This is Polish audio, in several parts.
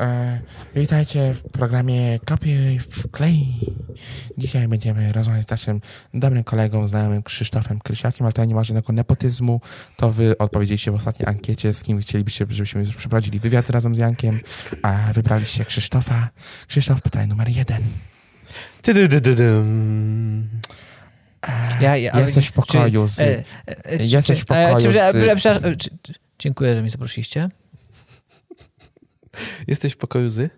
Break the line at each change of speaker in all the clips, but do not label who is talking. E, witajcie w programie Kopiuj w klej. Dzisiaj będziemy rozmawiać z naszym dobrym kolegą, znajomym Krzysztofem Krysiakiem, ale to nie ma żadnego nepotyzmu. To wy odpowiedzieliście w ostatniej ankiecie, z kim chcielibyście, żebyśmy przeprowadzili wywiad razem z Jankiem, a wybraliście Krzysztofa. Krzysztof, pytanie numer jeden.
Ty, ty, ty, ty, dym.
Ja, ja, ale-
Jesteś w
czy-
pokoju z-
e, e, czy-
jesteś
czy-
w pokoju
e, czy-
z-
e, przepraszam, e, czy- czy- Dziękuję, że mnie zaprosiliście.
Jesteś w pokoju z?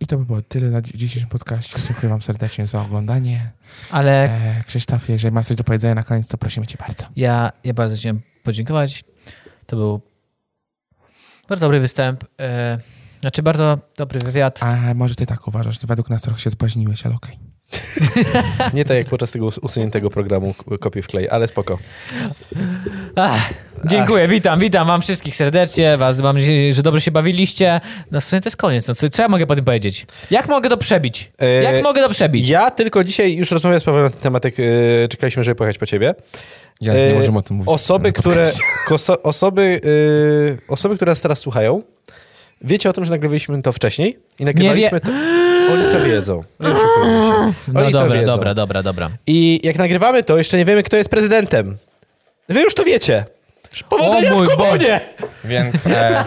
I to by było tyle na dzi- dzisiejszym podcaście. Dziękuję wam serdecznie za oglądanie.
Ale
E, Krzysztof, jeżeli masz coś do powiedzenia na koniec, to prosimy cię bardzo.
ja, ja bardzo chciałem podziękować. To był bardzo dobry występ. E, znaczy, bardzo dobry wywiad.
A może ty tak uważasz? Ty według nas trochę się zbaźniłeś, ale okej.
Nie tak jak podczas tego us- usuniętego programu k- kopię w klej, ale spoko.
Ach, dziękuję, witam, witam wam wszystkich serdecznie. Was, mam nadzieję, że dobrze się bawiliście. No w sumie to jest koniec. No, co, co ja mogę po tym powiedzieć? Jak mogę to przebić?
E,
Jak mogę to przebić?
Ja tylko dzisiaj już rozmawiałem z Pawłem na ten temat, jak e, czekaliśmy, żeby pojechać po ciebie.
Ja
E,
nie możemy o tym mówić.
Osoby, które, koso, osoby, e, osoby, które nas teraz słuchają, wiecie o tym, że nagrywaliśmy to wcześniej i nagrywaliśmy
wie-
to... Oni to wiedzą. Nie oszukujmy się. Oni
No
to
dobra,
wiedzą.
dobra, dobra, dobra.
I jak nagrywamy to, jeszcze nie wiemy, kto jest prezydentem. Wy już to wiecie. Powodzenia
O mój
w komunie!
Więc e,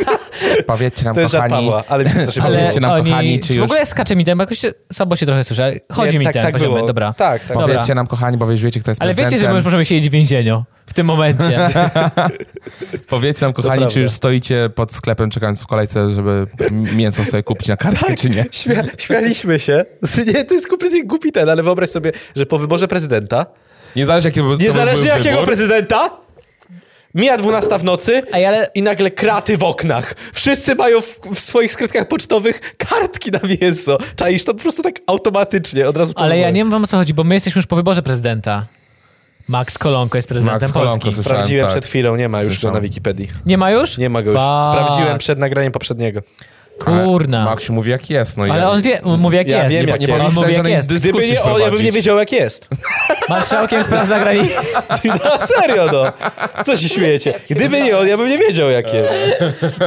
powiedzcie nam,
To jest żart
kochani,
Pawła, ale mi się strasznie
Ale-
podobało.
Powiedzcie nam, kochani, czy
W
już-
ogóle skacze mi ten, bo jakoś się- słabo się trochę słyszę. ale Chodzi
Nie,
mi
tak-
ten
tak
poziomy,
było.
dobra.
Tak, tak.
Dobra.
powiedzcie nam, kochani, bo już wiecie, kto jest
Ale wiecie, że my
prezydentem. Tak
już możemy siedzieć w więzieniu w tym momencie.
Powiedzcie nam, kochani,
prawda.
czy już stoicie pod sklepem, czekając w kolejce, żeby m- mięso sobie kupić na kartkę,
Tak.
czy nie?
Śmia śmialiśmy się. Nie, to jest kompletnie głupi ten, ale wyobraź sobie, że po wyborze prezydenta,
Niezależnie, jaki by to
niezależnie
był
jakiego
wybór,
prezydenta, mija 12 w nocy
Ej, ale-
i nagle kraty w oknach. Wszyscy mają w, w swoich skrytkach pocztowych kartki na mięso. Czaisz to po prostu tak automatycznie, od razu po
Ale ja
wyborach.
nie wiem wam o co chodzi, bo my jesteśmy już po wyborze prezydenta. Max Kolonko jest prezydentem
Max Kolonko,
Polski.
słyszałem,
Sprawdziłem
tak.
przed chwilą, nie ma już
Słyszałem.
go na Wikipedii.
Nie ma już?
Nie ma go już.
Fuck.
Sprawdziłem przed nagraniem poprzedniego.
Ale
Kurna.
Maksiu mówi, jak jest. No i
Ale on wie, on mówi jak
Ja
jest.
wiem,
nie,
jak
nie
jest.
on
Powinniśmy
mówi
tak
jak
żadnej
jest.
dyskusji
Gdyby nie on, ja bym nie
prowadzić.
wiedział jak jest.
Marszałkiem spraw zagranicznych.
No serio no. Co się śmiejecie? Gdyby nie on, ja bym nie wiedział jak jest.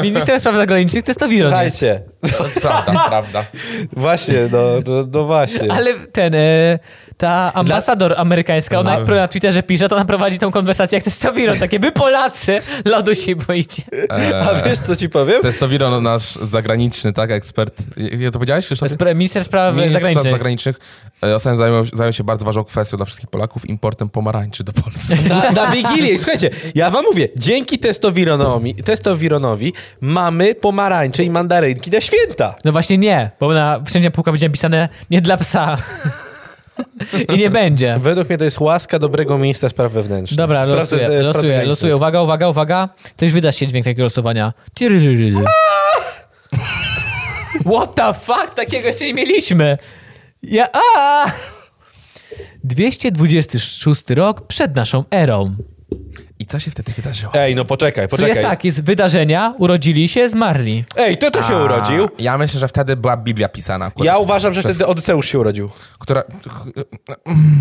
Minister spraw zagranicznych to jest to wirus.
Dajcie.
Prawda, prawda.
Właśnie, no, no, no właśnie.
Ale ten, e, ta ambasador amerykańska, ona jak na Twitterze pisze, to ona prowadzi tą konwersację jak testowiron, takie wy Polacy, lodu się boicie.
A wiesz co ci powiem?
To jest to Wiron, nasz zagraniczny, tak, ekspert. Ja to powiedziałeś, Krzysztof?
Spra- minister spraw
Minister spraw
zagranicznych.
zagranicznych. e, Ostatnio zajął, zajął się bardzo ważną kwestią dla wszystkich Polaków, importem pomarańczy do Polski.
Na, na Wigilię. Słuchajcie, ja wam mówię, dzięki testowironowi, testowironowi mamy pomarańcze i mandarynki na święta.
No właśnie nie, bo na wszędzie półka będzie napisane nie dla psa. I nie będzie.
Według mnie to jest łaska dobrego ministra spraw wewnętrznych.
Dobra,
Spraw-
losuję,
spraw
losuję,
zagranicznych.
losuję. Uwaga, uwaga, uwaga. Ktoś wyda się dźwięk takiego losowania. Tiryryryry. What the fuck? Takiego jeszcze nie mieliśmy. Ja... A! 226 rok przed naszą erą.
I co się wtedy wydarzyło?
Ej, no poczekaj,
Czyli jest
poczekaj.
tak, jest wydarzenia, urodzili się, zmarli.
Ej, to to się
A,
urodził.
Ja myślę, że wtedy była Biblia pisana. Akurat,
Ja uważam, że
Przez-
wtedy Odyseusz się urodził.
Która...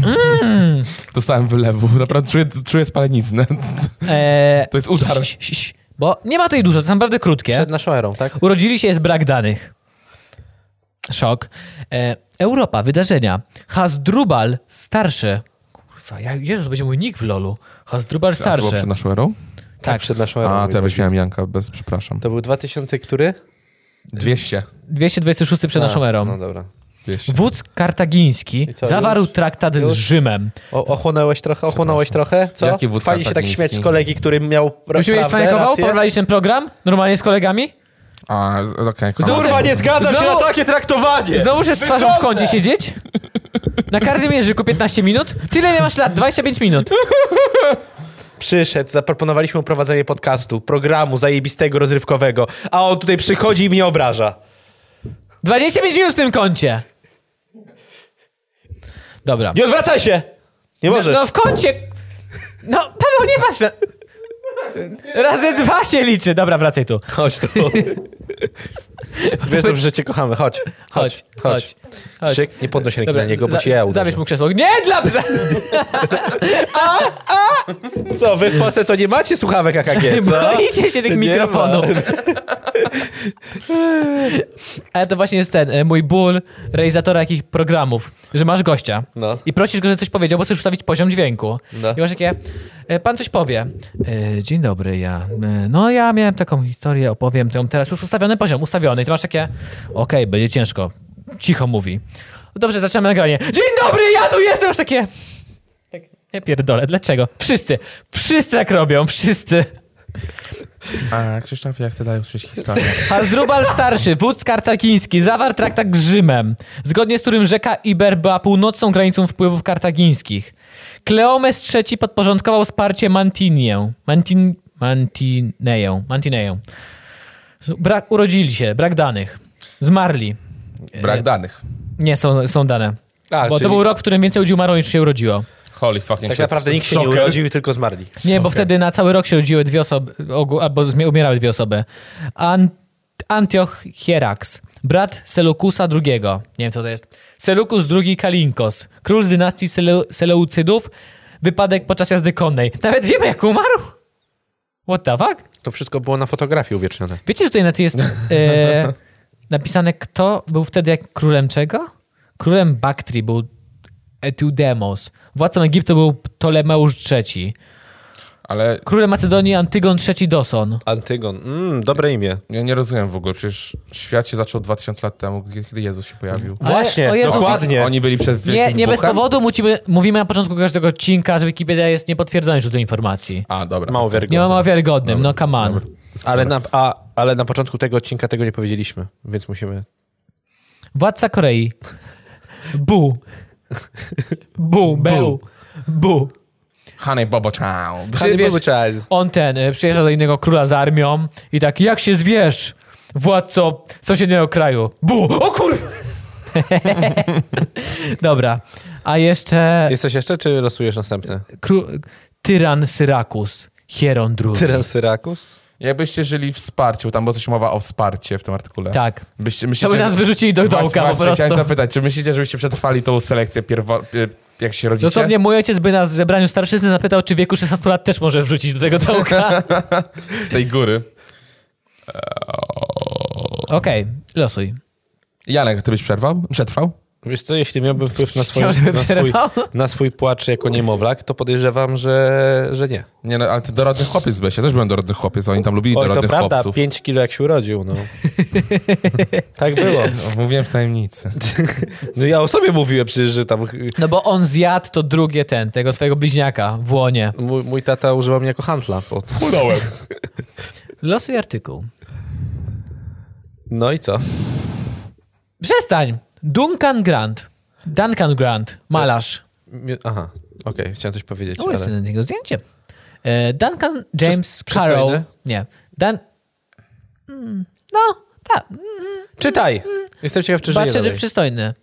Mm.
Dostałem wylewu. Naprawdę czuję, czuję spaleniznę.
Eee,
To jest udar.
ś- ś- ś- Bo nie ma tutaj dużo, to jest naprawdę krótkie.
Przed naszą erą, tak?
Urodzili się jest brak danych. Szok. E, Europa, wydarzenia. Hasdrubal starszy. Kurwa, ja, Jezus, będzie mój nick w lolu. Hasdrubal
A to było
starszy.
przed naszą erą?
Tak,
Przed naszą erą.
A, to ja wyśmiałem Janka, bez przepraszam.
To był 2000 który?
200.
226 przed naszą
A, No
erą.
dobra.
200.
Wódz kartagiński
I co,
zawarł
już?
traktat
Już?
z Rzymem.
O, ochłonąłeś trochę, ochłonąłeś trochę? Co?
Jaki wódz
Fajnie się tak
kartagiński?
śmiać z kolegi, który miał pra-
Musimy mieć
prawdę,
spanikował?
rację?
Porwaliście ten program? Normalnie z kolegami?
A, okej.
Kurwa,
Znowu-
nie zgadzam się na
znowu-
takie traktowanie!
Znowu że z twarzą w
Wygląda!
kącie siedzieć? Na karnym jeżyku 15 minut? Tyle ile masz lat? 25 minut.
Przyszedł, zaproponowaliśmy prowadzenie podcastu, programu zajebistego, rozrywkowego, a on tutaj przychodzi i mnie obraża.
25 minut w tym kącie. Dobra.
Nie odwracaj się! Nie możesz.
No w kącie. No, Paweł, nie patrz na... Razy dwa się liczy. Dobra, wracaj tu.
Chodź tu. Wiesz dobrze, że cię kochamy, chodź.
Chodź, chodź. chodź.
Krzyk, nie podnoś ręki
Dobra,
na niego, bo
za-
ci ja uderzę.
Zabierz mu krzesło. Nie dla psa!
Co, wy w Polsce to nie macie słuchawek AKG, co?
No Boicie się
Nie
tych
ma.
mikrofonów. Ale to właśnie jest ten, e, mój ból realizatora jakich programów, że masz gościa
No.
i prosisz go, żeby coś powiedział, bo chcesz ustawić poziom dźwięku.
No.
I masz takie, e, pan coś powie. E, Dzień dobry, ja. e, No ja miałem taką historię, opowiem ją teraz. Już ustawiony poziom, ustawiony. I ty masz takie, okej, będzie ciężko. Cicho mówi. Dobrze, zaczynamy nagranie. Dzień dobry, ja tu jestem! Masz takie... Tak, Ja pierdolę, dlaczego? Wszyscy, wszyscy tak robią, wszyscy.
A Krzysztof, ja chcę dalej usłyszeć historię.
Hasdrubal starszy, wódz kartagiński, zawarł traktat z Rzymem, zgodnie z którym rzeka Iber była północną granicą wpływów kartagińskich. Kleomes III podporządkował wsparcie Mantinię. Mantin, Mantineję. Mantineję. Brak, urodzili się, brak danych. Zmarli.
Brak danych.
Nie, są, są dane.
A,
bo
czyli-
to był rok, w którym więcej ludzi umarło niż się urodziło.
Holy fucking
Tak
shit.
naprawdę nikt się nie
Szoker.
urodził i tylko zmarli.
Nie, bo
Okej.
wtedy na cały rok się rodziły dwie osoby, ogół, albo zmi- umierały dwie osoby. An- Antioch Hierax, brat Seleukusa II. Nie wiem, co to jest. Seleukus II Kalinkos, król z dynastii Sele- Seleucydów, wypadek podczas jazdy konnej. Nawet wiemy, jak umarł? What the fuck?
To wszystko było na fotografii uwiecznione.
Wiecie, że tutaj na tej jest e, napisane, kto był wtedy jak królem czego? Królem Baktrii był Eutydemos. Władcą Egiptu był Ptolemeusz III.
Ale
Królem Macedonii Antygon III Doson.
Antygon. Mm, dobre imię.
ja nie rozumiem w ogóle, przecież świat się zaczął 2000 lat temu, gdy- kiedy Jezus się pojawił.
Ale-
Właśnie,
o Jezu,
dokładnie.
Oni byli przed wielkim
Nie, nie bez
wybuchem?
powodu mówimy, mówimy na początku każdego odcinka, że Wikipedia jest niepotwierdzonym źródłem informacji.
A, dobra.
Mało wiarygodne.
Nie ma mało wiarygodnym, no come on.
Ale na, a, ale na początku tego odcinka tego nie powiedzieliśmy, więc musimy...
Władca Korei. Bu. Bu, był. Bu.
Honey Bobo Child.
Czyli wiesz-
Bobo Child.
On ten, y, przyjeżdża do innego króla z armią i tak, jak się zwierz, władco sąsiedniego kraju. Bu! O kurwa! Dobra. A jeszcze
Jest coś jeszcze, czy losujesz następny?
kró... tyran Syrakus. Hieron II.
Tyran Syrakus?
Jakbyście żyli w wsparciu, tam była coś mowa o wsparcie w tym artykule.
Tak.
Byście,
To
myślicie,
by nas
że-
wyrzucili do
Właśnie-
dołka po
właśnie
prostu.
chciałem zapytać, czy myślicie, żebyście przetrwali tą selekcję pierwo... pier- jak się rodzicie?
Dosłownie mój ojciec by nas w zebraniu starszyzny zapytał, czy w wieku 16 lat też może wrzucić do tego dołka.
Z tej góry.
Okej, losuj.
Janek, ty byś przerwał? Przetrwał?
Wiesz co, jeśli miałbym wpływ na swój,
Chciał, żeby
na swój,
przerwał?
na swój płacz jako niemowlak, to podejrzewam, że, że nie.
Nie no, ale ty dorodny chłopiec byłeś. Ja też byłem dorodny chłopiec, oni tam lubili
Oj, to
dorodnych
prawda,
chłopców.
5 kilo jak się urodził, no. tak było.
No.
O, Mówiłem w tajemnicy.
No ja o sobie mówiłem przecież, że tam...
No bo on zjadł to drugie ten, tego swojego bliźniaka w łonie.
Mój, mój tata używał mnie jako handla. Bo...
Płynąłem.
Losuj artykuł.
No i co?
Przestań! Duncan Grant. Duncan Grant, malarz.
Mi- Aha, okej, chciałem coś powiedzieć,
O, jest
ale...
na niego zdjęcie. E, Duncan James
Przys-
Carroll.
przystojny?
Nie. Dan... Mm, No, tak.
Czytaj! Jestem ciekaw, czy żyje
Patrzę, że
dalej.
przystojny.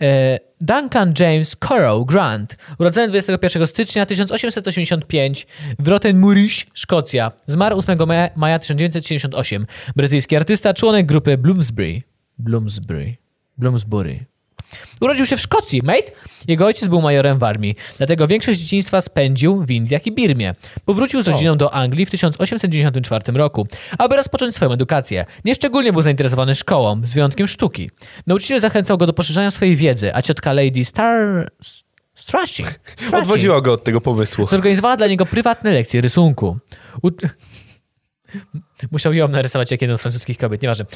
E, Duncan James Corrow Grant, urodzony 21 stycznia 1885 w Rottenmurish, Szkocja. Zmarł 8 maja, maja 1978. Brytyjski artysta, członek grupy Bloomsbury. Bloomsbury. Bloomsbury. Urodził się w Szkocji, mate. Jego ojciec był majorem w armii, dlatego większość dzieciństwa spędził w Indiach i Birmie. Powrócił z rodziną do Anglii w 1894 roku, aby rozpocząć swoją edukację. Nieszczególnie był zainteresowany szkołą, z wyjątkiem sztuki. Nauczyciel zachęcał go do poszerzania swojej wiedzy, a ciotka Lady Star... Strashing.
Odwodziła go od tego pomysłu.
Zorganizowała dla niego prywatne lekcje rysunku. U... Musiał ją narysować jak jedną z francuskich kobiet, nieważne.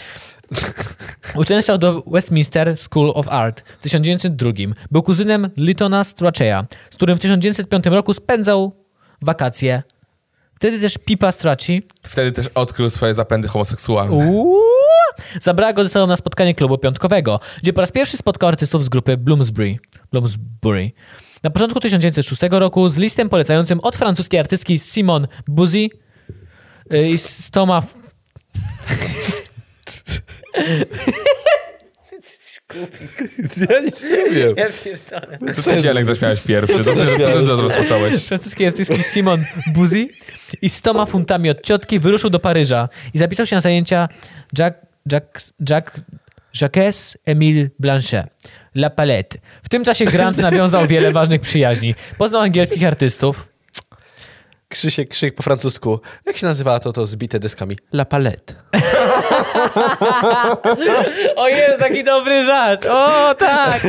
Uczęszczał do Westminster School of Art w 1902. Był kuzynem Lytona Strachea, z którym w 1905 roku spędzał wakacje. Wtedy też Pipa Strachey
Wtedy też odkrył swoje zapędy homoseksualne.
Uuu. Zabrała go ze sobą na spotkanie klubu piątkowego, gdzie po raz pierwszy spotkał artystów z grupy Bloomsbury. Bloomsbury. Na początku 1906 roku z listem polecającym od francuskiej artystki Simone Buzy y, i z Toma... F-
Ja nic nie wiem.
To też Janek zaśmiałeś pierwszy. Dobrze, że ty to rozpocząłeś.
francuskiej artystki Simon Buzy i z toma funtami od ciotki wyruszył do Paryża i zapisał się na zajęcia Jack, Jack, Jack, Jacques Emile Blanchet. La Palette. W tym czasie Grant nawiązał wiele ważnych przyjaźni. Poznał angielskich artystów.
Krzysiek, krzyk po francusku. Jak się nazywa to, to zbite deskami? La palette.
O jest, taki dobry żart. O tak.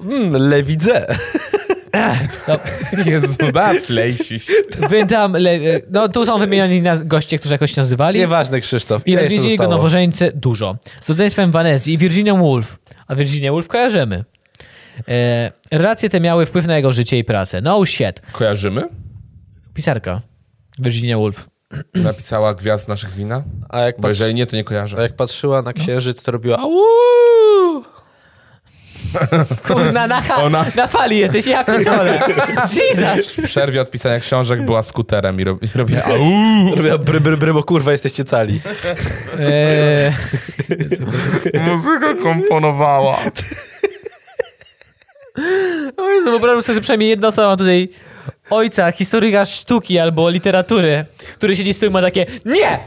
Mm, lewidze.
Jezu, dat lejsiś.
Wydam. No, Le... No tu są wymieniani naz- goście, którzy jakoś się nazywali.
Nieważne, Krzysztof.
I
Ile jeszcze
odwiedzili go
zostało?
nowożeńcy dużo. Z rodzeństwem Vanessa i Virginia Woolf. A Virginia Woolf kojarzymy. E, relacje te miały wpływ na jego życie i pracę. No shit.
Kojarzymy?
Pisarka. Virginia Woolf.
Napisała Gwiazd naszych wina?
A jak,
Bo
patrzy...
jeżeli nie, to nie
A
kojarzę.
jak patrzyła na księżyc, to robiła auuu.
Kurna, na, ha-
Ona-
na fali jesteś, ja pierdolę. Jesus.
W przerwie od pisania książek była skuterem i, rob, i robiła au.
Robiła bry, bry, bry, bo kurwa jesteście cali.
E,
Muzykę komponowała.
o Jezu, wyobrażam sobie, że przynajmniej jedna osoba ma tutaj ojca, historyka sztuki albo literatury, który siedzi z tyłu i ma takie nie,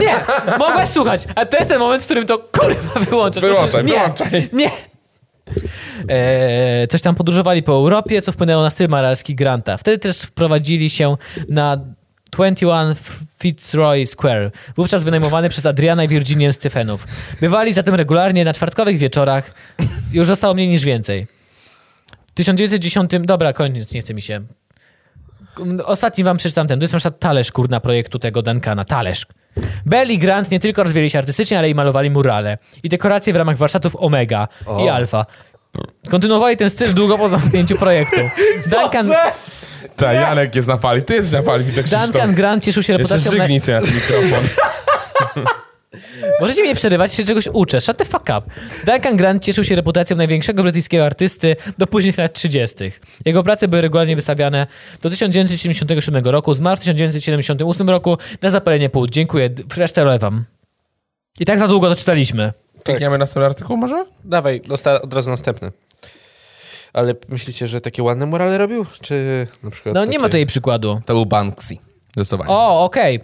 nie, mogłaś słuchać, a to jest ten moment, w którym to kurwa wyłączasz.
Wyłączaj,
Po prostu nie,
wyłączaj.
Nie. Eee, coś tam podróżowali po Europie, co wpłynęło na styl maralski Granta. Wtedy też wprowadzili się na 21 Fitzroy Square, wówczas wynajmowany przez Adriana i Virginię Stephenów. Bywali zatem regularnie na czwartkowych wieczorach. Już zostało mniej niż więcej. W 1910... Dobra, koniec, nie chce mi się. Ostatni wam przeczytam ten. To jest na przykład talerz, kurna, projektu tego Duncana. Talerz. Bell i Grant nie tylko rozwijali się artystycznie, ale i malowali murale. I dekoracje w ramach warsztatów Omega i Alfa. Kontynuowali ten styl długo po zamknięciu projektu. Duncan,
Ta, Janek jest na fali. Ty jesteś na fali, widzę Krzysztof.
Duncan Grant cieszył się
Jeszcze
reputacją... Na...
żygnij sobie na ten mikrofon.
Możecie mnie przerywać, jeśli czegoś uczę. Shut the fuck up. Duncan Grant cieszył się reputacją największego brytyjskiego artysty do późnych lat 30. Jego prace były regularnie wystawiane do 1977 roku. Zmarł w 1978 roku na zapalenie płuc. Dziękuję. d- Resztę lewam. I tak za długo to czytaliśmy.
Klikniemy następny artykuł może?
Dawaj, dosta- od razu następny. Ale myślicie, że takie ładne murale robił? Czy na przykład.
No nie ma
takie-
tutaj przykładu.
To był Banksy. Zdecydowanie.
O, okej.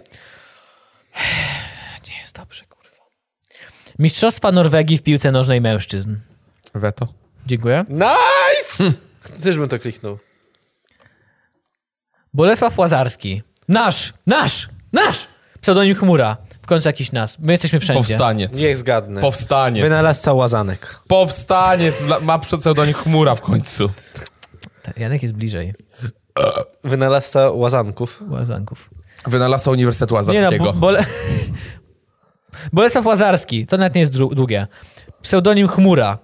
Nie jest dobrze, kurwa. Mistrzostwa Norwegii w piłce nożnej mężczyzn.
Weto.
Dziękuję.
Nice! Też bym to kliknął.
Bolesław Łazarski. Nasz! Nasz! Nasz! Pseudonim Chmura. W końcu jakiś nas. My jesteśmy wszędzie.
Powstaniec.
Niech zgadnę.
Powstaniec.
Wynalazca łazanek.
Powstaniec. Bla- Ma przed pseudonim Chmura w końcu.
Ta- Janek jest bliżej
Wynalazca łazanków.
Łazanków.
Wynalazca Uniwersytetu
Nie no,
Łazarskiego.
bo, bole... Bolesław Łazarski. To nawet nie jest dru- długie. Pseudonim Chmura.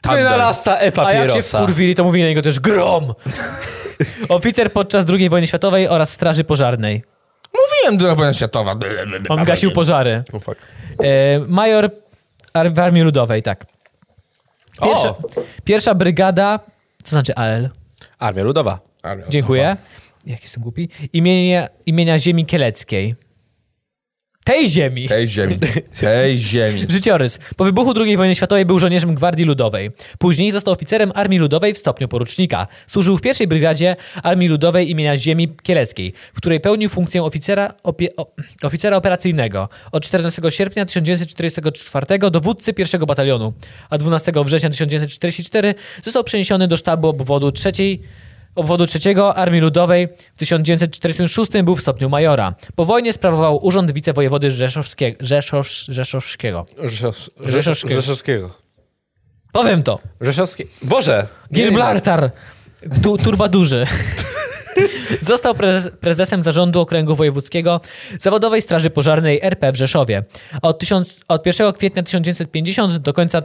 Tandem.
Wynalazca
A jak się
e-papierosa.
wkurwili, to mówili na niego też Grom! Oficer podczas II wojny światowej oraz Straży Pożarnej.
Mówiłem, druga wojna światowa.
On gasił pożary.
O, fuck.
tak.
E, major ar- w Armii Ludowej, tak. Pierwsza,
O!
pierwsza brygada... Co znaczy AL?
Armia Ludowa.
Ale o to
Dziękuję. Jaki jestem głupi. Imienia, imienia ziemi kieleckiej. Tej ziemi.
Tej ziemi. Tej ziemi.
Życiorys. Po wybuchu II wojny światowej był żołnierzem Gwardii Ludowej. Później został oficerem Armii Ludowej w stopniu porucznika. Służył w pierwszej brygadzie Armii Ludowej imienia Ziemi Kieleckiej, w której pełnił funkcję oficera, opie, o, oficera operacyjnego. Od 14 sierpnia 1944 dowódcy pierwszego batalionu, a 12 września 1944 został przeniesiony do sztabu obwodu trzeciej obwodu III Armii Ludowej w 1946 był w stopniu majora. Po wojnie sprawował urząd wicewojewody rzeszowskie, rzeszows, rzeszowskiego.
Rzeszows-
Rzeszowskiego.
Rzeszowskiego.
Powiem to.
Rzeszowski. Boże!
Girblartar. Tu, turba duży. Został prezes, prezesem zarządu Okręgu Wojewódzkiego Zawodowej Straży Pożarnej RP w Rzeszowie. A Od, 1000, od 1 kwietnia 1950 do końca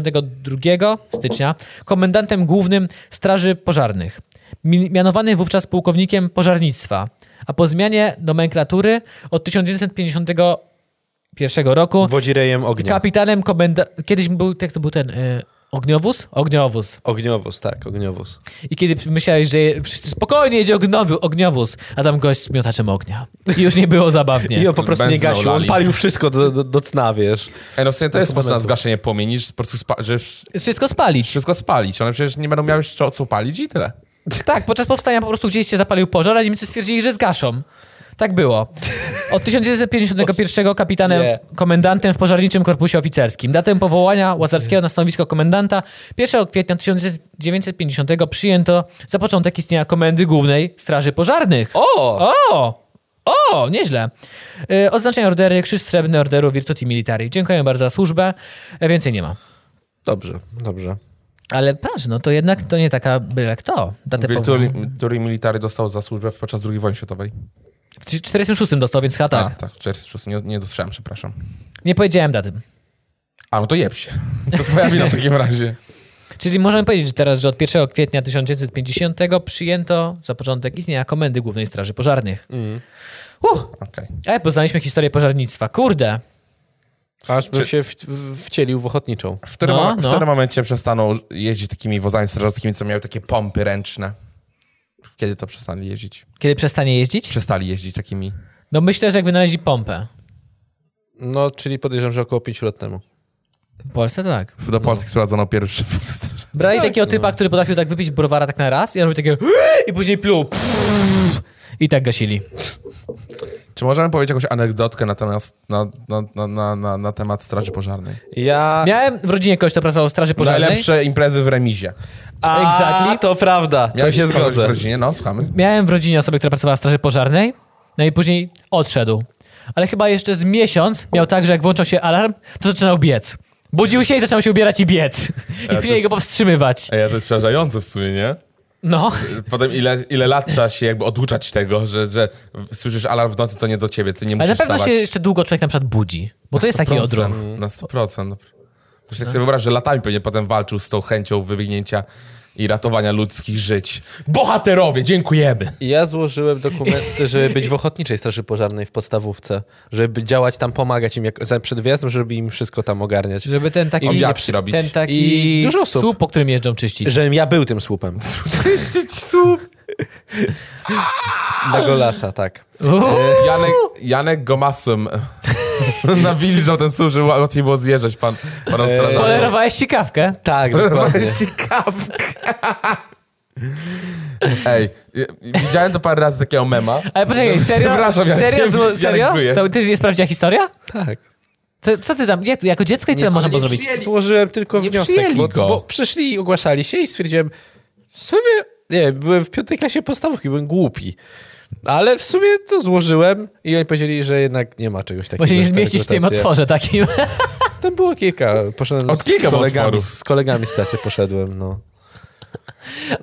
1952 stycznia komendantem głównym Straży Pożarnych. Mi- Mianowany wówczas pułkownikiem pożarnictwa. A po zmianie nomenklatury od 1951 roku
Wodzirejem ognia.
Kapitanem komenda... Kiedyś był, jak to był ten... Y... Ogniowóz? Ogniowóz.
Ogniowóz, tak, ogniowóz.
I kiedy myślałeś, że wszyscy spokojnie jedzie ognowy, ogniowóz, a tam gość z miotaczem ognia. I już nie było zabawnie.
I on po prostu nie
Benzynę
gasił, on
olali.
palił wszystko do, do, do cna, wiesz.
Ej, no w sumie to jest sposób na zgaszenie płomieni, że po prostu spa- że
Wszystko spalić.
wszystko spalić. One przecież nie będą miały jeszcze o co palić i tyle.
Tak, podczas powstania po prostu gdzieś się zapalił pożar, a Niemcy stwierdzili, że zgaszą. Tak było. Od 1951 kapitanem,
Nie.
komendantem w Pożarniczym Korpusie Oficerskim. Datę powołania Łazarskiego na stanowisko komendanta 1 kwietnia 1950 przyjęto za początek istnienia Komendy Głównej Straży Pożarnych.
O!
O! O, nieźle. Y, Odznaczenie ordery, krzyż srebrny orderu Virtuti Militari. Dziękuję bardzo za służbę. E, Więcej nie ma.
Dobrze, dobrze.
Ale patrz, no to jednak to nie taka byle kto. Datę
Wilturi,
powołania.
Wilturi Military dostał za służbę podczas II wojny światowej.
W 46 dostał, więc chyba
A,
tak.
tak, w 46, nie, nie dostrzegam, przepraszam.
Nie powiedziałem daty.
A, no to jeb się. To twoja wina w takim razie.
Czyli możemy powiedzieć że teraz, że od 1 kwietnia 1950 przyjęto za początek istnienia Komendy Głównej Straży Pożarnych. Uh,
Okej.
ale poznaliśmy historię pożarnictwa. Kurde.
Aż bym
Czy-
się w, w, wcielił w ochotniczą.
W którym,
No,
mo- w
no.
którym momencie przestaną jeździć takimi wozami strażackimi, co miały takie pompy ręczne? Kiedy to przestali jeździć?
Kiedy przestanie jeździć?
Przestali jeździć takimi.
No myślę, że jak wynaleźli pompę.
No, czyli podejrzewam, że około 5 lat temu.
W Polsce tak.
Do Polski sprowadzono pierwsze wozy strażackie.
Brali takiego typa, który potrafił tak wypić browara tak na raz i on robił takie i później pluł. I tak gasili.
Czy możemy powiedzieć jakąś anegdotkę natomiast na, na, na, na, na, na temat straży pożarnej?
Ja...
Miałem w rodzinie kogoś, kto pracował w straży pożarnej.
Najlepsze imprezy w remizie.
A,
Exactly.
to prawda, to
Miałeś
się
kogoś
zgodzę.
w rodzinie? No, słuchamy.
Miałem w rodzinie osobę, która pracowała w straży pożarnej, no i później odszedł. Ale chyba jeszcze z miesiąc miał tak, że jak włączał się alarm, to zaczynał biec. Budził się i zaczynał się ubierać i biec. I
to
później
jest-
go powstrzymywać.
Ej, a to jest przerażające w sumie, nie?
No,
Potem ile, ile lat trzeba się jakby oduczać tego, że, że słyszysz alarm w nocy, to nie do ciebie, ty nie
ale
musisz
na pewno się
wstawać.
jeszcze długo człowiek na przykład budzi, bo to jest taki
100%,
odruch.
Na 100%. No. Już tak sobie wyobraź, że latami pewnie potem walczył z tą chęcią wybiegnięcia i ratowania ludzkich żyć. Bohaterowie, dziękujemy!
Ja złożyłem dokumenty, żeby być w Ochotniczej Straży Pożarnej w podstawówce, żeby działać tam, pomagać im jak, za- przed wyjazdem, żeby im wszystko tam ogarniać.
Żeby ten taki,
Obiadki robić.
ten
I
taki
dużo osób.
słup, po którym jeżdżą czyścić.
Żebym ja był tym słupem.
Czyścić słup!
Na Golasa, tak.
Uuu,
Janek, Janek go masłem nawilżał ten słup, żeby łatwiej było zjeżdżać pan, panom strażakom.
Polerowałeś ci kawkę?
Tak, dokładnie.
Ej, y- widziałem to parę razy takiego mema.
Ale poczekaj,
Że-
serio?
Przepraszam, Janek,
serio?
Janek
serio?
Zujec.
To ty jest prawdziwa historia?
tak.
Co, co ty tam, gdzie, jako dziecko i co tam można było zrobić?
Złożyłem tylko
Nie
wniosek,
przyjęli
bo,
go.
bo przyszli i ogłaszali się i stwierdziłem, w sumie, nie, byłem w piątej klasie podstawówki, byłem głupi. Ale w sumie to złożyłem i oni powiedzieli, że jednak nie ma czegoś takiego.
Bo się nie
że to
zmieścić w tym
rekrutacja.
otworze takim.
Tam było kilka. Poszedłem
Od kilka
z, kolegami,
otworów.
z kolegami z klasy poszedłem, no.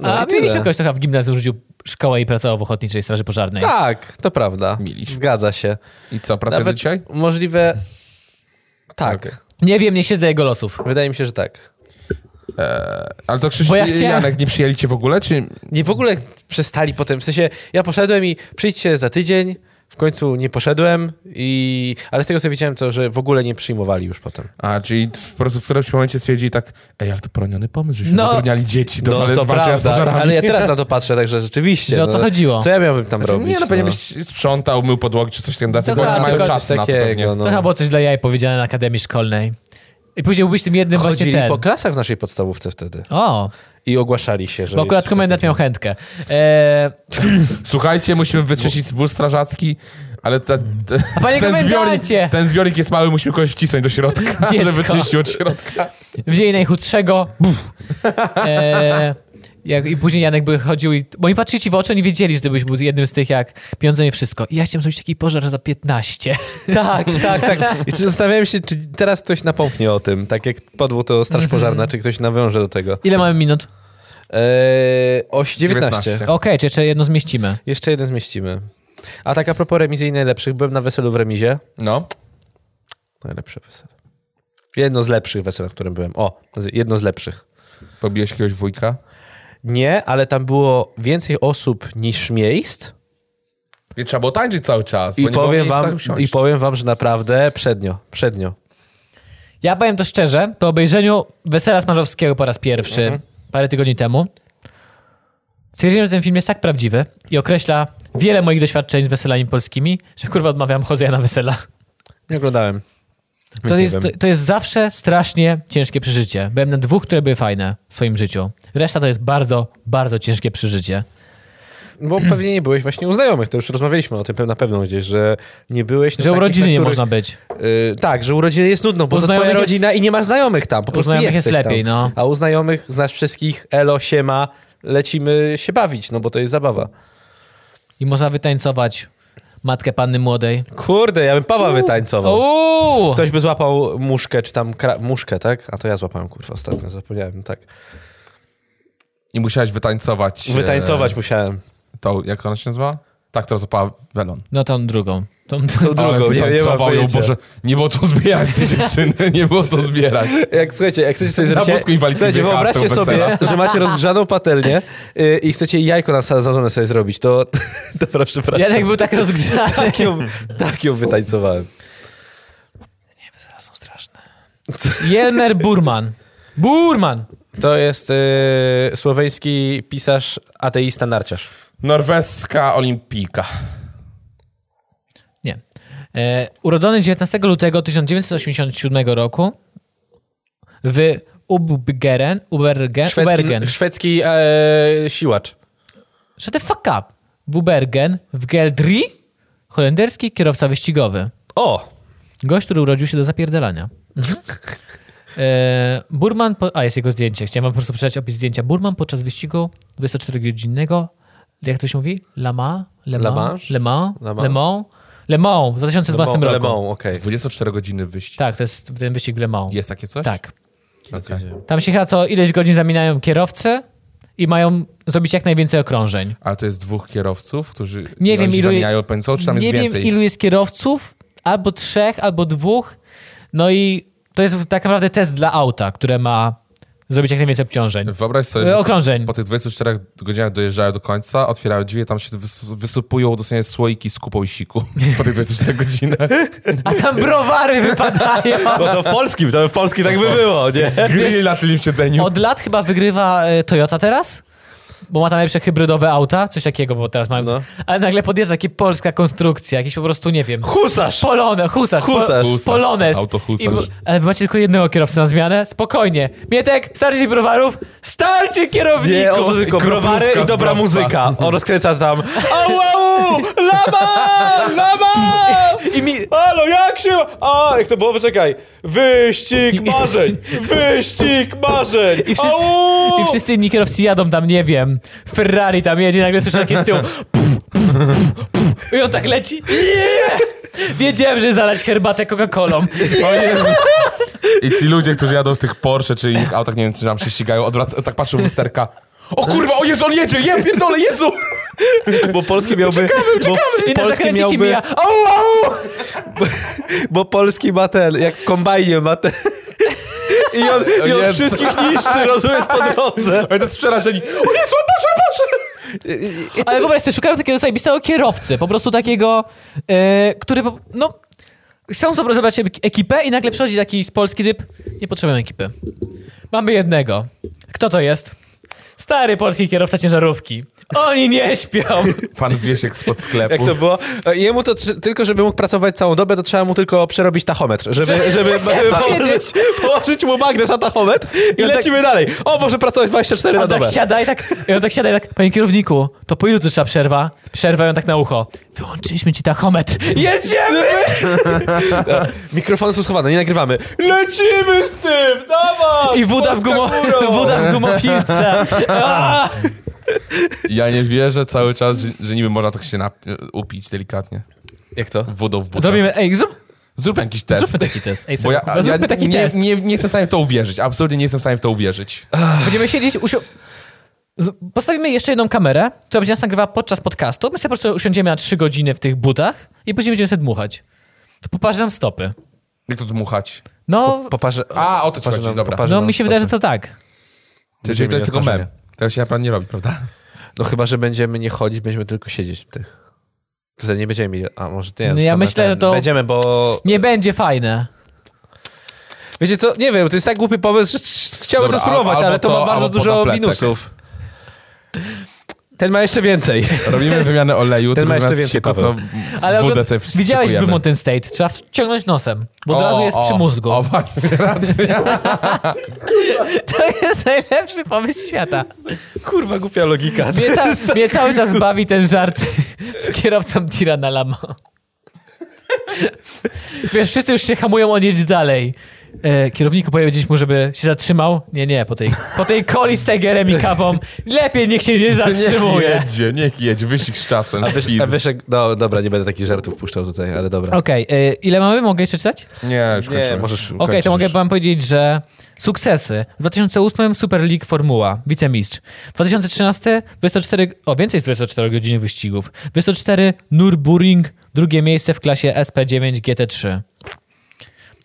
A
i tyle.
mieliśmy kogoś, kto chyba w gimnazjum rzucił szkołę i pracował w Ochotniczej Straży Pożarnej.
Tak, to prawda.
Mieliśmy.
Zgadza się.
I co, pracuje do dzisiaj?
możliwe... Tak.
Nie wiem, nie siedzę jego losów.
Wydaje mi się, że tak.
Ale to Krzysztof
Bo ja
i
chciałem-
Janek nie przyjęli cię w ogóle, czy...
Nie w ogóle przestali potem, w sensie ja poszedłem i przyjdźcie za tydzień, w końcu nie poszedłem i... Ale z tego co wiedziałem to, że w ogóle nie przyjmowali już potem.
A, czyli w- po prostu w którymś momencie stwierdzili tak, ej, ale to poroniony pomysł, żeśmy
No.
zatrudniali dzieci do wale- walczenia z pożarami.
ale ja teraz na to patrzę, także rzeczywiście. no.
Że o co chodziło?
Co ja miałbym tam
Znaczy,
robić?
nie, no pewnie byś sprzątał, mył podłogi czy coś takiego,
To
bo
tak,
nie mają
tylko
czasu na to pewnie.
takiego,
To chyba
no.
było coś dla jaj powiedziane na Akademii Szkolnej. I później byłbyś tym jednym
Chodzili
właśnie ten.
po klasach w naszej podstawówce wtedy
O,
i ogłaszali się, że
bo akurat
jest-
komendant miał chętkę. E,
Słuchajcie, musimy wyczyścić wóz strażacki, ale ta, te-
panie
ten, zbiornik,
komendancie!
ten zbiornik jest mały, musimy kogoś wcisnąć do środka,
Dziecko.
żeby czyścił od środka.
wzięli najchudszego. Buf. E, jak, I później Janek by chodził i... Bo oni patrzyli ci w oczy, nie wiedzieli, że ty byś był jednym z tych, jak pieniądze nie wszystko. I ja chciałem zrobić taki pożar za 15.
Tak, tak, tak. I czy zastanawiałem się, czy teraz ktoś napomknie o tym, tak jak padło to Straż
Mhm.
Pożarna, czy ktoś nawiąże do tego.
Ile mamy minut?
Eee, oś 19.
19.
Okej, czy jeszcze jedno zmieścimy.
Jeszcze jeden zmieścimy. A tak a propos remizy i najlepszych, byłem na weselu w remizie.
No,
Najlepsze wesele. Jedno z lepszych wesel, na którym byłem. O, z- jedno z lepszych.
pobiłeś jakiegoś wujka.
Nie, ale tam było więcej osób niż miejsc.
I trzeba było tańczyć cały czas, bo
I
nie było
powiem,
miejsca
wam,
usiąść.
I powiem wam, że naprawdę przednio, przednio.
Ja powiem to szczerze, po obejrzeniu Wesela Smarzowskiego po raz pierwszy
Mhm.
parę tygodni temu, stwierdziłem, że ten film jest tak prawdziwy i określa wiele moich doświadczeń z weselami polskimi, że kurwa odmawiam chodzenia na wesela.
Nie oglądałem. Więc
To
nie
jest,
wiem.
to jest zawsze strasznie ciężkie przeżycie. Byłem na dwóch, które były fajne w swoim życiu. Reszta to jest bardzo, bardzo ciężkie przeżycie.
Bo pewnie nie byłeś właśnie u znajomych, to już rozmawialiśmy o tym na pewno gdzieś, że nie byłeś... na
Że
takich,
urodziny
na
nie
których-
można być.
Y, tak, że u rodziny jest nudno, bo
U
to twoja
znajomych jest-
rodzina i nie masz znajomych tam. Po prostu
znajomych jest
jesteś
lepiej,
tam.
no.
A u znajomych znasz wszystkich, elo, siema, lecimy się bawić, no bo to jest zabawa.
I można wytańcować matkę panny młodej.
Kurde, ja bym Pawła wytańcował.
Uuu!
Ktoś by złapał muszkę, czy tam kra- muszkę, tak? A to ja złapałem, kurwa, ostatnio, zapomniałem, tak.
I musiałeś wytańcować. e,
Wytańcować musiałem.
tą, jak ona się nazywa? Tak, która zapała welon.
No tą drugą. Tą,
Tą drugą, nie, nie ma
wytańcował ją,
pojęcia.
Boże, nie było to zbierać tej dziewczyny, nie było to zbierać.
Jak, słuchajcie, jak chcecie sobie
Na
zrobić...
wózku inwalidzkim
Słuchajcie,
wjechała z
wyobraźcie
tego
sobie, że macie rozgrzaną patelnię yy, i chcecie jajko na sa- sadzone sobie zrobić, to... Dobra, przepraszam.
Janek był tak rozgrzany.
Tak ją, tak ją wytańcowałem.
Są straszne. Jelmer Burman. Burman!
To jest yy, słoweński pisarz, ateista, narciarz.
Norweska olimpijka.
Nie. E, urodzony 19 lutego 1987 roku w Ubgeren, Ubergen, Ubergen.
Szwedzki, szwedzki e, siłacz.
Shut the fuck up. W Ubergen, w Geldri, holenderski kierowca wyścigowy.
O!
Gość, który urodził się do zapierdalania.
Mhm.
E, Burman, po, a jest jego zdjęcie, chciałem wam po prostu przeczytać opis zdjęcia. Burman podczas wyścigu 24-godzinnego, jak to się mówi? Lama? Le
La
Mans?
Manche?
Le Mans?
La Mans.
Le Mans? Le Mans w 2012
Le Mans, Le
roku.
Mans, okej.
24 godziny wyścig.
Tak, to jest ten wyścig Le Mans.
Jest takie coś?
Tak.
Okej.
Tam się chyba co ileś godzin zamieniają kierowcy i mają zrobić jak najwięcej okrążeń.
Ale to jest dwóch kierowców, którzy
Nie
oni
wiem,
się
ilu-
zamieniają pędzą, czy tam jest
Nie
więcej?
wiem, ilu jest kierowców, albo trzech, albo dwóch. No i to jest tak naprawdę test dla auta, które ma zrobić jak najwięcej obciążeń.
Wyobraź sobie,
E,
że
okrążeń.
po tych 24 godzinach dojeżdżają do końca, otwierają drzwi, tam się wys- wysypują dosłownie słoiki z kupą i siku po tych 24 godzinach.
A tam browary wypadają.
No to w polskim, to w polskim tak by było, nie?
Grill na tym siedzeniu.
Od lat chyba wygrywa e, Toyota teraz? Bo ma tam najlepsze hybrydowe auta, coś takiego, bo teraz mają.
No.
Ale nagle podjeżdża jakaś polska konstrukcja, jakiś po prostu, nie wiem.
Husarz!
Polone, husarz.
Husarz.
Po,
Husarz,
Polones.
autohusarz.
I- Ale wy macie tylko jednego kierowcę na zmianę? Spokojnie. Mietek, starczy browarów, starczy kierowniku.
Nie, on to tylko
Kroplówka
browary i
z
dobra
browca.
muzyka. On rozkręca tam Au, au, lama, lama!
I mi...
Halo, jak się... A, jak to było? Poczekaj. Wyścig marzeń! Wyścig marzeń!
I wszyscy- I wszyscy inni kierowcy jadą tam, nie wiem. Ferrari tam jedzie, nagle słyszę takie z tyłu. Puf, puf, puf, puf. I on tak leci. Nie! Wiedziałem, że zalać herbatę Coca-Colą.
O Jezu. I ci ludzie, którzy jadą w tych Porsche czy innych autach, nie wiem, czy nam się ścigają, odwraca, tak patrzą w lusterka. O kurwa, o Jezu, on jedzie, ja pierdolę, Jezu!
Bo polski miałby... Czekamy,
I na
Polski
zakręcie ci
miałby...
mija. Au, au!
Bo polski ma ten, jak w kombajnie ma ten... I on, i on
Jezu.
wszystkich niszczy, rozumiesz, po drodze.
Oni teraz przerażeni. O Jezu, Boże, Boże!
Ale wyobraź sobie, szukałem takiego zajebistego kierowcy, po prostu takiego, e, który, po- no, chciał sobie zebrać ek- ekipę i nagle przychodzi taki z Polski typ, nie potrzebujemy ekipy. Mamy jednego. Kto to jest? Stary polski kierowca ciężarówki. Oni nie śpią.
Pan Wiesiek spod
Jak
sklepu.
to było? E, Jemu to tr- tylko, żeby mógł pracować całą dobę, to trzeba mu tylko przerobić tachometr, żeby,
Chciałem
żeby położyć,
powiedzieć.
położyć mu magnes na tachometr i
I on tak-
lecimy dalej. O, może pracować 24 na
On tak
dobę.
siada i tak, i on tak siada i tak, panie kierowniku, to po ilu tu trzeba przerwa? Przerwa i on tak na ucho. Wyłączyliśmy ci tachometr. Jedziemy!
Mikrofony są schowane, nie nagrywamy. Lecimy z tym! Dawaj!
I woda w,
Polska
gumo,
górą!
woda w gumofilce. A!
Ja nie wierzę cały czas, że, że niby można tak się nap- upić delikatnie.
Jak to?
Wodą w butach.
Zrobimy, ej, zrób,
Zróbmy jakiś test.
zróbmy taki test. Ej,
Bo ja,
Sebastian, zróbmy
ja
taki
nie,
test.
nie, nie jestem w stanie w to uwierzyć. Absolutnie nie jestem w stanie w to uwierzyć.
Będziemy siedzieć, usio... Z- Postawimy jeszcze jedną kamerę, która będzie nas nagrywała podczas podcastu. My sobie po prostu usiądziemy na trzy godziny w tych butach i później będziemy sobie dmuchać. To poparzę nam stopy.
Jak to dmuchać?
No,
Poparzę.
A, o to ci
Poparzę
chodzi,
nam-
dobra.
poparzę
no
nam
mi się
stopy.
wydaje, że to tak.
Czyli to jest tylko
Będziemy
mem. To się naprawdę nie robi, prawda?
No chyba, że będziemy nie chodzić, będziemy tylko siedzieć w tych. To wtedy nie będziemy mieli. A może nie.
No
to
ja
same
myślę,
ten.
że to-
Będziemy, bo.
Nie będzie fajne.
Wiecie co? Nie wiem, to jest tak głupi pomysł, że ch- chciałbym
Dobra,
to spróbować,
al-
ale
albo
to, ma
to,
bardzo
albo
dużo
podapletek.
minusów. Ten ma jeszcze więcej.
Robimy wymianę oleju,
Ten
tylko
ma jeszcze
zamiast
więcej,
siku, to
Paweł.
Ale
Ale
ogólnie-
wodę sobie
widziałeś
wstrzykujemy.
Bloomington State. Trzeba wciągnąć nosem, bo od
O,
razu jest
o,
przy mózgu.
O, właśnie, racja.
To jest najlepszy pomysł świata.
Kurwa, głupia logika.
Mnie, ca-
tak
mnie cały czas bawi ten żart z kierowcą tira na lamo. Wiesz, wszyscy już się hamują, on jedzie dalej. E, kierowniku powiedzieć mu, żeby się zatrzymał. Nie, nie, po tej, po tej coli z Tigerem i kawą lepiej niech się nie
Niech
zatrzymuje.
jedzie, niech jedzie, wyścig z czasem,
A, wiesz,
speed.
a wiesz, jak- no dobra, nie będę takich żartów puszczał tutaj, ale dobra.
Okej, e, ile mamy? Mogę jeszcze czytać?
Nie, już
Nie,
kończymy.
możesz
Okej, to mogę wam powiedzieć, że sukcesy. W 2008 Super League Formuła, wicemistrz. 2013 24, o więcej z 24 godzin wyścigów. 24 Nürburgring, drugie miejsce w klasie SP9 GT3.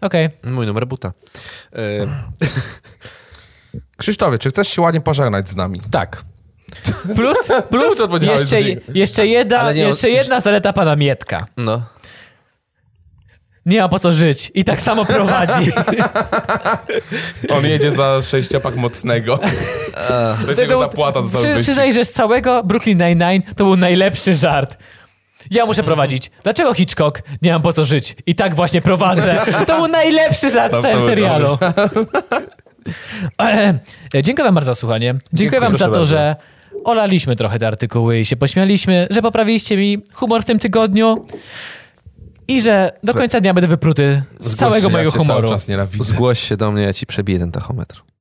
Okej,
Mój numer buta. E,
Krzysztofie, czy chcesz się ładnie pożegnać z nami?
tak.
plus,
Czemu
plus
to powiedziałeś,
jeszcze,
że nie?
jeszcze, jedna,
Ale nie,
jeszcze
on-
jedna zaleta pana Mietka.
No.
Nie ma po co żyć i tak samo prowadzi.
On jedzie za sześciopak mocnego. To jest jego zapłata za cały
Przy-
wyścig.
Przyznaj, że z całego Brooklyn Nine-Nine to był najlepszy żart. Ja
Mhm.
muszę prowadzić. Dlaczego Hitchcock? Nie mam po co żyć. I tak właśnie prowadzę. To był najlepszy żart
To
w całym
był
serialu. E, e, Dziękuję wam bardzo za słuchanie. Dziękuję, wam za to,
Proszę bardzo.
że olaliśmy trochę te artykuły i się pośmialiśmy, że poprawiliście mi humor w tym tygodniu i że do końca dnia będę wypruty z
Właśnie,
całego
ja
mojego
cię
humoru.
Cały czas nienawidzę.
Zgłoś się do mnie, ja ci przebiję ten tachometr.